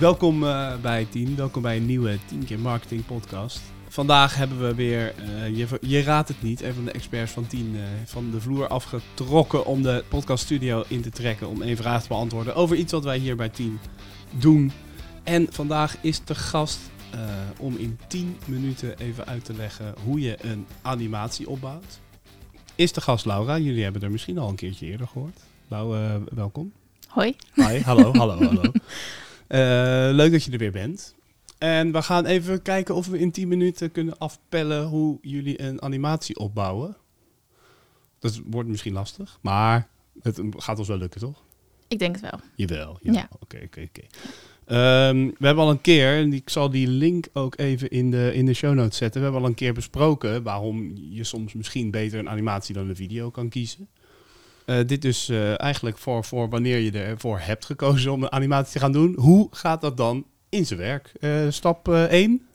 Welkom eh, bij het team. Welkom bij een nieuwe 10 keer marketing podcast. Vandaag hebben we weer, eh, je, je raadt het niet, een van de experts van 10 eh, van de vloer afgetrokken om de podcaststudio in te trekken om één vraag te beantwoorden over iets wat wij hier bij 10 doen. En vandaag is de gast eh, om in 10 minuten even uit te leggen hoe je een animatie opbouwt. Is de gast Laura. Jullie hebben er misschien al een keertje eerder gehoord. Lau, eh, welkom. Hoi. Hi, hallo, hallo, hallo. Eh, leuk dat je er weer bent. En we gaan even kijken of we in 10 minuten kunnen afpellen hoe jullie een animatie opbouwen. Dat wordt misschien lastig, maar het gaat ons wel lukken, toch? Ik denk het wel. Jawel, Ja. ja. Oké, oké, oké. Ehm, we hebben al een keer, en ik zal die link ook even in de, in de show notes zetten. We hebben al een keer besproken waarom je soms misschien beter een animatie dan een video kan kiezen. Eh, dit dus eh, eigenlijk voor, voor wanneer je ervoor hebt gekozen om een animatie te gaan doen. Hoe gaat dat dan in zijn werk? Eh, stap 1,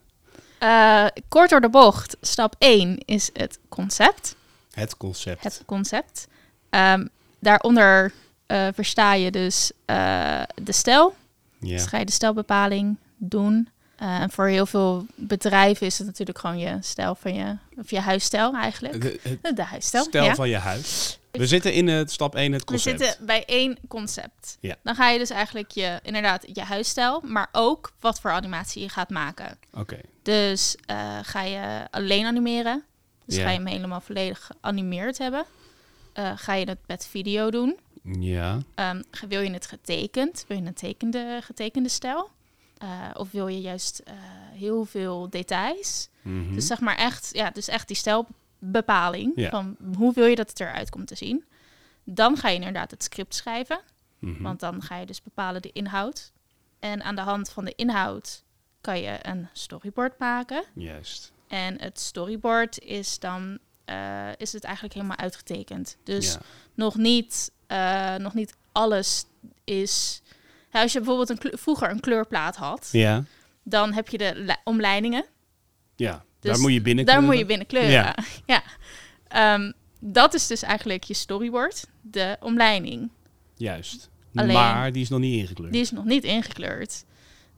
Eh, kort door de bocht, stap 1 is het concept. het concept. Het concept. Ehm, daaronder eh, versta je dus eh, de stijl. Ja. Dus ga je de stijlbepaling doen. Eh, en voor heel veel bedrijven is het natuurlijk gewoon je stijl van je, of je huisstijl eigenlijk. De- het De, huisstijl. stijl ja. van je huis. We zitten in het stap 1, het We concept. zitten bij één concept. Ja. Dan ga je dus eigenlijk je, inderdaad, je huisstijl, maar ook wat voor animatie je gaat maken. Oké, Dus eh, ga je alleen animeren. Dus Ja. ga je hem helemaal volledig geanimeerd hebben. Eh, ga je het met video doen. ja. Ehm, ge- wil je het getekend? Wil je een tekende, getekende stijl? Eh, of wil je juist eh, heel veel details? Mhm. Dus zeg maar echt, ja, dus echt die stijlbepaling. Ja. Van hoe wil je dat het eruit komt te zien? Dan ga je inderdaad het script schrijven. Mhm. Want dan ga je dus bepalen de inhoud. En aan de hand van de inhoud kan je een storyboard maken. Juist. En het storyboard is dan eh, is het eigenlijk helemaal uitgetekend. Dus Ja. nog, niet, eh, nog niet alles is. Ja, als je bijvoorbeeld een kle- vroeger een kleurplaat had, Ja. dan heb je de li- omleidingen. Ja, Dus daar moet je binnen Daar kunnen. moet je binnen kleuren. Ja. Ja. Ehm, dat is dus eigenlijk je storyboard, de omleiding. Juist. Alleen- Maar die is nog niet ingekleurd. Die is nog niet ingekleurd.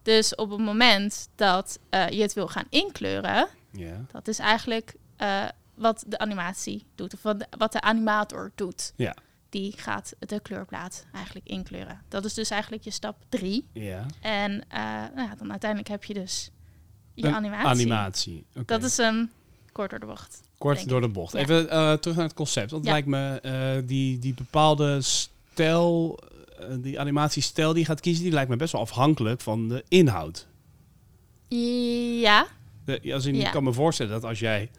Dus op het moment dat eh, je het wil gaan inkleuren, Ja. Dat is eigenlijk eh, wat de animatie doet, of wat de, wat de animator doet. Ja. Die gaat de kleurplaat eigenlijk inkleuren. Dat is dus eigenlijk je stap drie. ja. En eh, nou ja, dan uiteindelijk heb je dus je Een animatie. Animatie. Oké. Dat is een kort door de bocht. denk Kort ik. door de bocht. Ja. Even eh, terug naar het concept. Want het Ja. lijkt me eh, die, die bepaalde stijl, eh, die animatiestijl die je gaat kiezen, die lijkt me best wel afhankelijk van de inhoud. Ja, De, als in, Ja. Ik kan me voorstellen dat als jij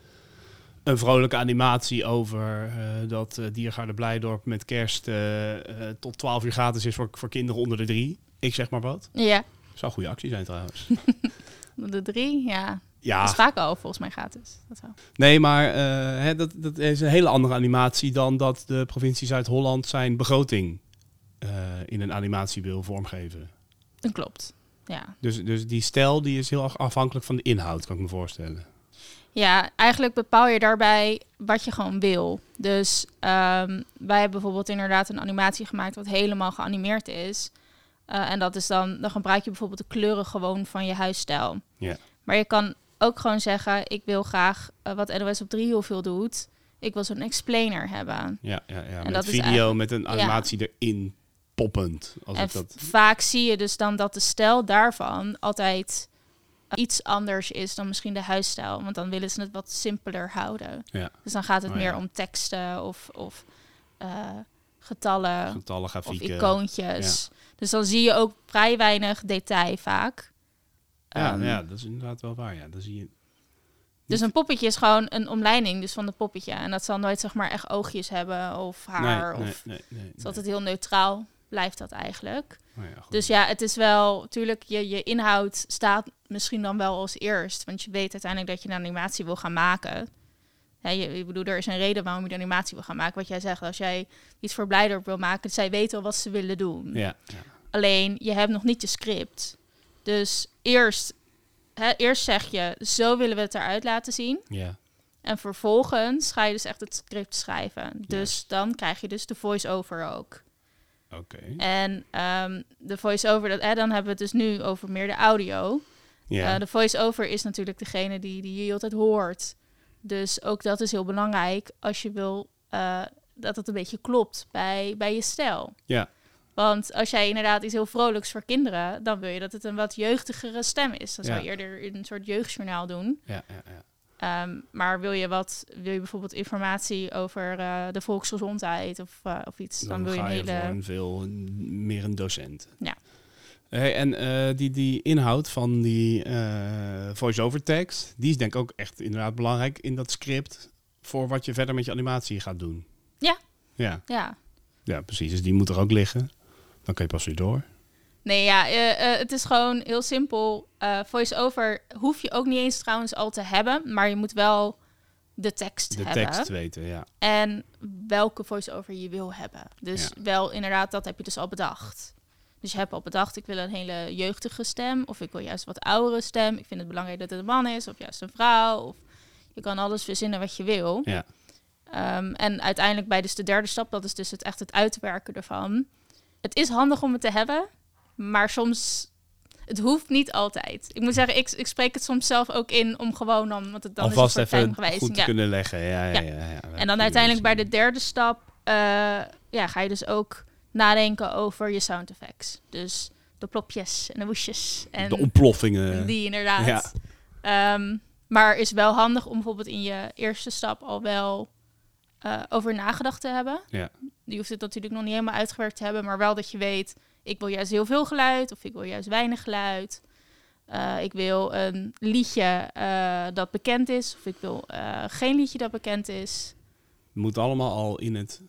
een vrolijke animatie over eh, dat eh, Diergaarde Blijdorp met kerst eh, eh, tot 12 uur gratis is voor, voor kinderen onder de drie. Ik zeg maar wat. ja. Zou een goede actie zijn trouwens. De drie, ja. Ja, Dat is vaak al volgens mij gratis. Dat wel. Nee, maar eh, hè, dat, dat is een hele andere animatie dan dat de provincie Zuid-Holland zijn begroting eh, in een animatie wil vormgeven. Dat klopt. Ja. Dus, dus die stijl die is heel erg afhankelijk van de inhoud, kan ik me voorstellen. Ja, eigenlijk bepaal je daarbij wat je gewoon wil. Dus ehm, wij hebben bijvoorbeeld inderdaad een animatie gemaakt wat helemaal geanimeerd is. Eh, en dat is dan, dan gebruik je bijvoorbeeld de kleuren gewoon van je huisstijl. Ja. Maar je kan ook gewoon zeggen, ik wil graag eh, wat NOS op 3 heel veel doet. Ik wil zo'n explainer hebben. Ja, ja, ja. dat Met is video, eigenlijk- met een animatie erin poppend. Als en ik v- dat... vaak zie je dus dan dat de stijl daarvan altijd eh, iets anders is dan misschien de huisstijl. Want dan willen ze het wat simpeler houden. Ja, Dus dan gaat het Oh, meer ja. om teksten of, of eh, getallen getallen, of grafieken. icoontjes. Dus dan zie je ook vrij weinig detail vaak. ja, Ehm, ja, dat is inderdaad wel waar. Ja. Dan zie je... Dus een poppetje is gewoon een omleiding dus van het poppetje. En dat zal nooit zeg maar echt oogjes hebben of haar. nee, nee, of, nee, nee, nee. Het is altijd heel neutraal, blijft dat eigenlijk. Nou ja, goed. Dus ja, het is wel, natuurlijk, je, je inhoud staat misschien dan wel als eerst. Want je weet uiteindelijk dat je een animatie wil gaan maken. Hè, je, ik bedoel, er is een reden waarom je de animatie wil gaan maken. Wat jij zegt, als jij iets voor Blijdorp wil maken, zij weten al wat ze willen doen. Ja, ja. Alleen, je hebt nog niet je script. Dus eerst, hè, eerst zeg je, zo willen we het eruit laten zien. ja. En vervolgens ga je dus echt het script schrijven. Dus Juist. dan krijg je dus de voice-over ook. Oké. En ehm, de voice-over, dat, eh, dan hebben we het dus nu over meer de audio. Ja. Eh, de voice-over is natuurlijk degene die, die je altijd hoort. Dus ook dat is heel belangrijk als je wil eh, dat het een beetje klopt bij, bij je stijl. Ja. Want als jij inderdaad iets heel vrolijks voor kinderen, dan wil je dat het een wat jeugdigere stem is. Dan zou je Ja. eerder een soort jeugdjournaal doen. ja, ja, ja. Ehm, maar wil je, wat, wil je bijvoorbeeld informatie over eh, de volksgezondheid of, eh, of iets, dan, wil je een ga hele... voor een veel meer een docent. Ja. Hey, en eh, die, die inhoud van die eh voice-over tekst, die is denk ik ook echt inderdaad belangrijk in dat script voor wat je verder met je animatie gaat doen. Ja. Ja, Ja. ja precies. Dus die moet er ook liggen. Dan kan je pas weer door. Nee, ja, eh, eh, het is gewoon heel simpel. Eh Voice-over hoef je ook niet eens trouwens al te hebben, maar je moet wel de tekst De hebben. tekst weten, ja. En welke voice-over je wil hebben. Dus wel inderdaad, dat heb je dus al bedacht. Dus je hebt al bedacht, ik wil een hele jeugdige stem. Of ik wil juist een wat oudere stem. Ik vind het belangrijk dat het een man is, of juist een vrouw. Of je kan alles verzinnen wat je wil. Ja. Ehm, en uiteindelijk bij dus de derde stap, dat is dus het, echt het uitwerken ervan. Het is handig om het te hebben, maar soms... Het hoeft niet altijd. Ik moet zeggen, ik, ik spreek het soms zelf ook in om gewoon dan... Want het, dan Alvast is het voor even time geweest. goed Ja. kunnen leggen. Ja, ja, ja. Ja. ja, ja. En dan uiteindelijk bij de derde stap eh, ja, ga je dus ook nadenken over je sound effects. Dus de plopjes en de woesjes. En De ontploffingen. die inderdaad. ja. Ehm, maar is wel handig om bijvoorbeeld in je eerste stap al wel eh, over nagedacht te hebben. Ja. Je hoeft het natuurlijk nog niet helemaal uitgewerkt te hebben, maar wel dat je weet, ik wil juist heel veel geluid of ik wil juist weinig geluid. Eh, ik wil een liedje eh, dat bekend is of ik wil eh, geen liedje dat bekend is. Moet allemaal al in het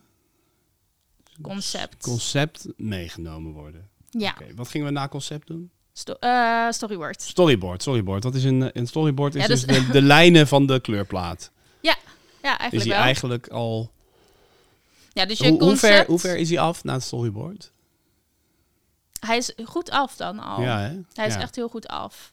Concept. concept meegenomen worden. ja, Oké, wat gingen we na concept doen? Sto- eh, storyboard. Storyboard, storyboard. Dat is een, een storyboard is Ja, dus, dus- de, de lijnen van de kleurplaat. Ja, Is eigenlijk die wel. eigenlijk al... ja, dus je Dus Hoe, hoe, concept, ver, hoe ver is die af na het storyboard? hij is goed af dan al. Ja, hè? Oh. Hij is Ja. echt heel goed af.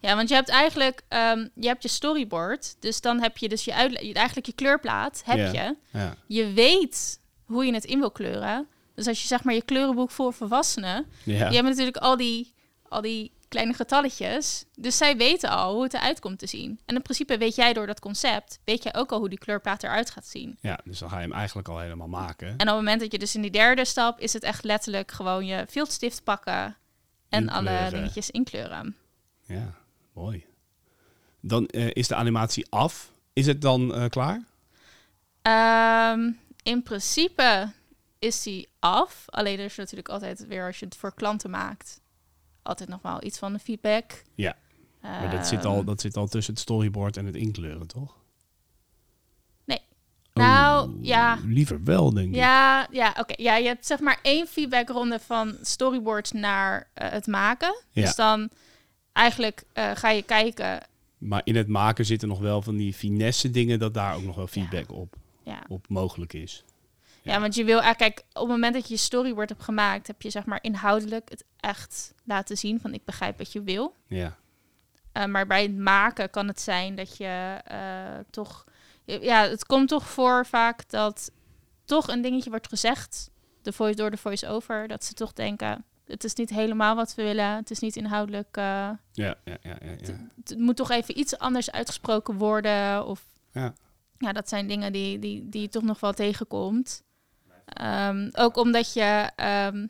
Ja, want je hebt eigenlijk ehm, je hebt je storyboard. Dus dan heb je dus je uitle- je- eigenlijk je kleurplaat heb Ja. je. Ja. Je weet hoe je het in wil kleuren. Dus als je zeg maar je kleurenboek voor volwassenen, Ja. je hebt natuurlijk al die, al die kleine getalletjes. Dus zij weten al hoe het eruit komt te zien. En in principe weet jij door dat concept, weet jij ook al hoe die kleurplaat eruit gaat zien. Ja, dus dan ga je hem eigenlijk al helemaal maken. En op het moment dat je dus in die derde stap, is het echt letterlijk gewoon je viltstift pakken en alle Inkleuren. dingetjes inkleuren. Ja, mooi. Dan eh, is de animatie af. Is het dan eh, klaar? Ehm, in principe is die af. Alleen er is natuurlijk altijd weer, als je het voor klanten maakt, altijd nog wel iets van de feedback. Ja. maar dat zit, al, Ehm, dat zit al tussen het storyboard en het inkleuren, toch? Nee. Oh, Nou, ja. Liever wel, denk ik. Ja, ja oké. Ja, je hebt zeg maar één feedbackronde van storyboard naar eh, het maken. Ja. Dus dan eigenlijk eh, ga je kijken. Maar in het maken zitten nog wel van die finesse dingen... dat daar ook nog wel feedback op, Ja. op mogelijk is. Ja, want je wil, ah, kijk, op het moment dat je je storyboard hebt gemaakt, heb je zeg maar inhoudelijk het echt laten zien van ik begrijp wat je wil. Ja. Eh, maar bij het maken kan het zijn dat je eh, toch, ja, het komt toch voor vaak dat toch een dingetje wordt gezegd de voice, door de voice-over, dat ze toch denken, het is niet helemaal wat we willen, het is niet inhoudelijk, eh, Ja, ja, ja, ja, ja. het moet toch even iets anders uitgesproken worden of Ja. ja, dat zijn dingen die, die, die je toch nog wel tegenkomt. Ehm, ook omdat je ehm,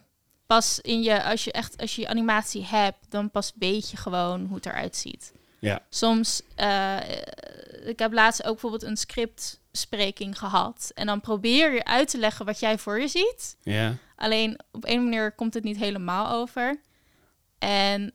pas in je, als je echt als je je animatie hebt, dan pas weet je gewoon hoe het eruit ziet. Ja. Soms, eh, ik heb laatst ook bijvoorbeeld een scriptspreking gehad. En dan probeer je uit te leggen wat jij voor je ziet. ja. Alleen op een manier komt het niet helemaal over. En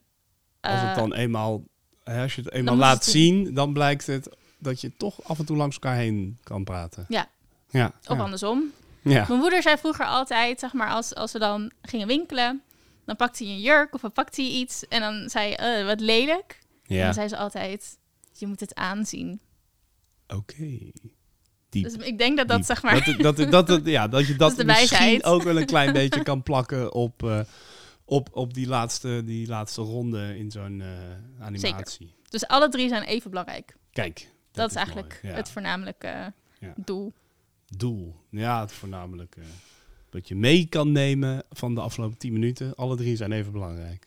Als het eh, dan eenmaal, hè, als je het eenmaal moet laat het in- zien, dan blijkt het dat je toch af en toe langs elkaar heen kan praten. Ja. Ja. of ja. andersom. ja. Mijn moeder zei vroeger altijd, zeg maar, als, als we dan gingen winkelen, dan pakte hij een jurk of dan pakte hij iets en dan zei hij, "Eh, wat lelijk. En dan Ja. zei ze altijd, je moet het aanzien. Oké. Dus ik denk dat dat, Diep. zeg maar, Dat, het- dat, het- dat, het- ja, dat je dat, is de misschien wijsheid. ook wel een klein beetje kan plakken op, eh, op, op die, laatste, die laatste ronde in zo'n eh, animatie. dus alle drie zijn even belangrijk. Dat, Kijk. Dat, is eigenlijk mooi. Ja. het voornamelijke Ja. doel. doel. Ja, het voornamelijk. eh, Wat je mee kan nemen van de afgelopen 10 minuten. Alle drie zijn even belangrijk.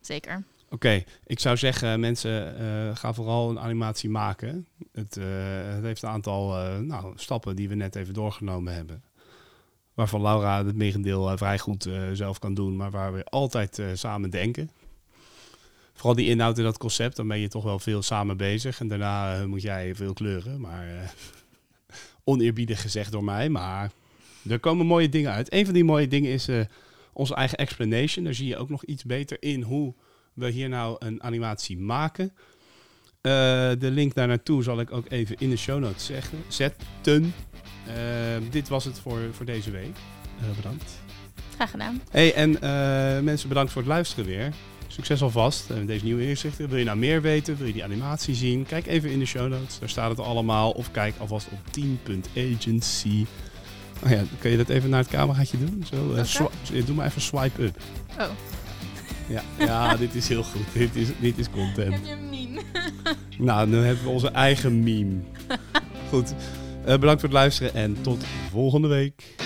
Zeker. Oké, ik zou zeggen, mensen, eh ga vooral een animatie maken. Het, eh, het heeft een aantal eh, nou, stappen die we net even doorgenomen hebben. Waarvan Laura het merendeel eh, vrij goed eh, zelf kan doen, maar waar we altijd eh, samen denken. Vooral die inhoud en dat concept, dan ben je toch wel veel samen bezig. En daarna eh, moet jij veel kleuren, maar eh, oneerbiedig gezegd door mij. Maar er komen mooie dingen uit. Een van die mooie dingen is eh, onze eigen explanation. Daar zie je ook nog iets beter in hoe we hier nou een animatie maken. Eh, de link daar naartoe zal ik ook even in de show notes zeggen, zetten. Eh, dit was het voor, voor deze week. Eh, bedankt. Graag gedaan. Hey, en eh, mensen, bedankt voor het luisteren weer. Succes alvast eh, met deze nieuwe inzichten. Wil je nou meer weten? Wil je die animatie zien? Kijk even in de show notes. Daar staat het allemaal. Of kijk alvast op 10.agency. Oh ja, kun je dat even naar het cameraatje doen? Zo, eh, Oké. swi- doe maar even swipe up. Oh. Ja, ja dit is heel goed. Dit is, dit is content. je hem niet? Nou, nu hebben we onze eigen meme. Goed. Eh, bedankt voor het luisteren en tot volgende week.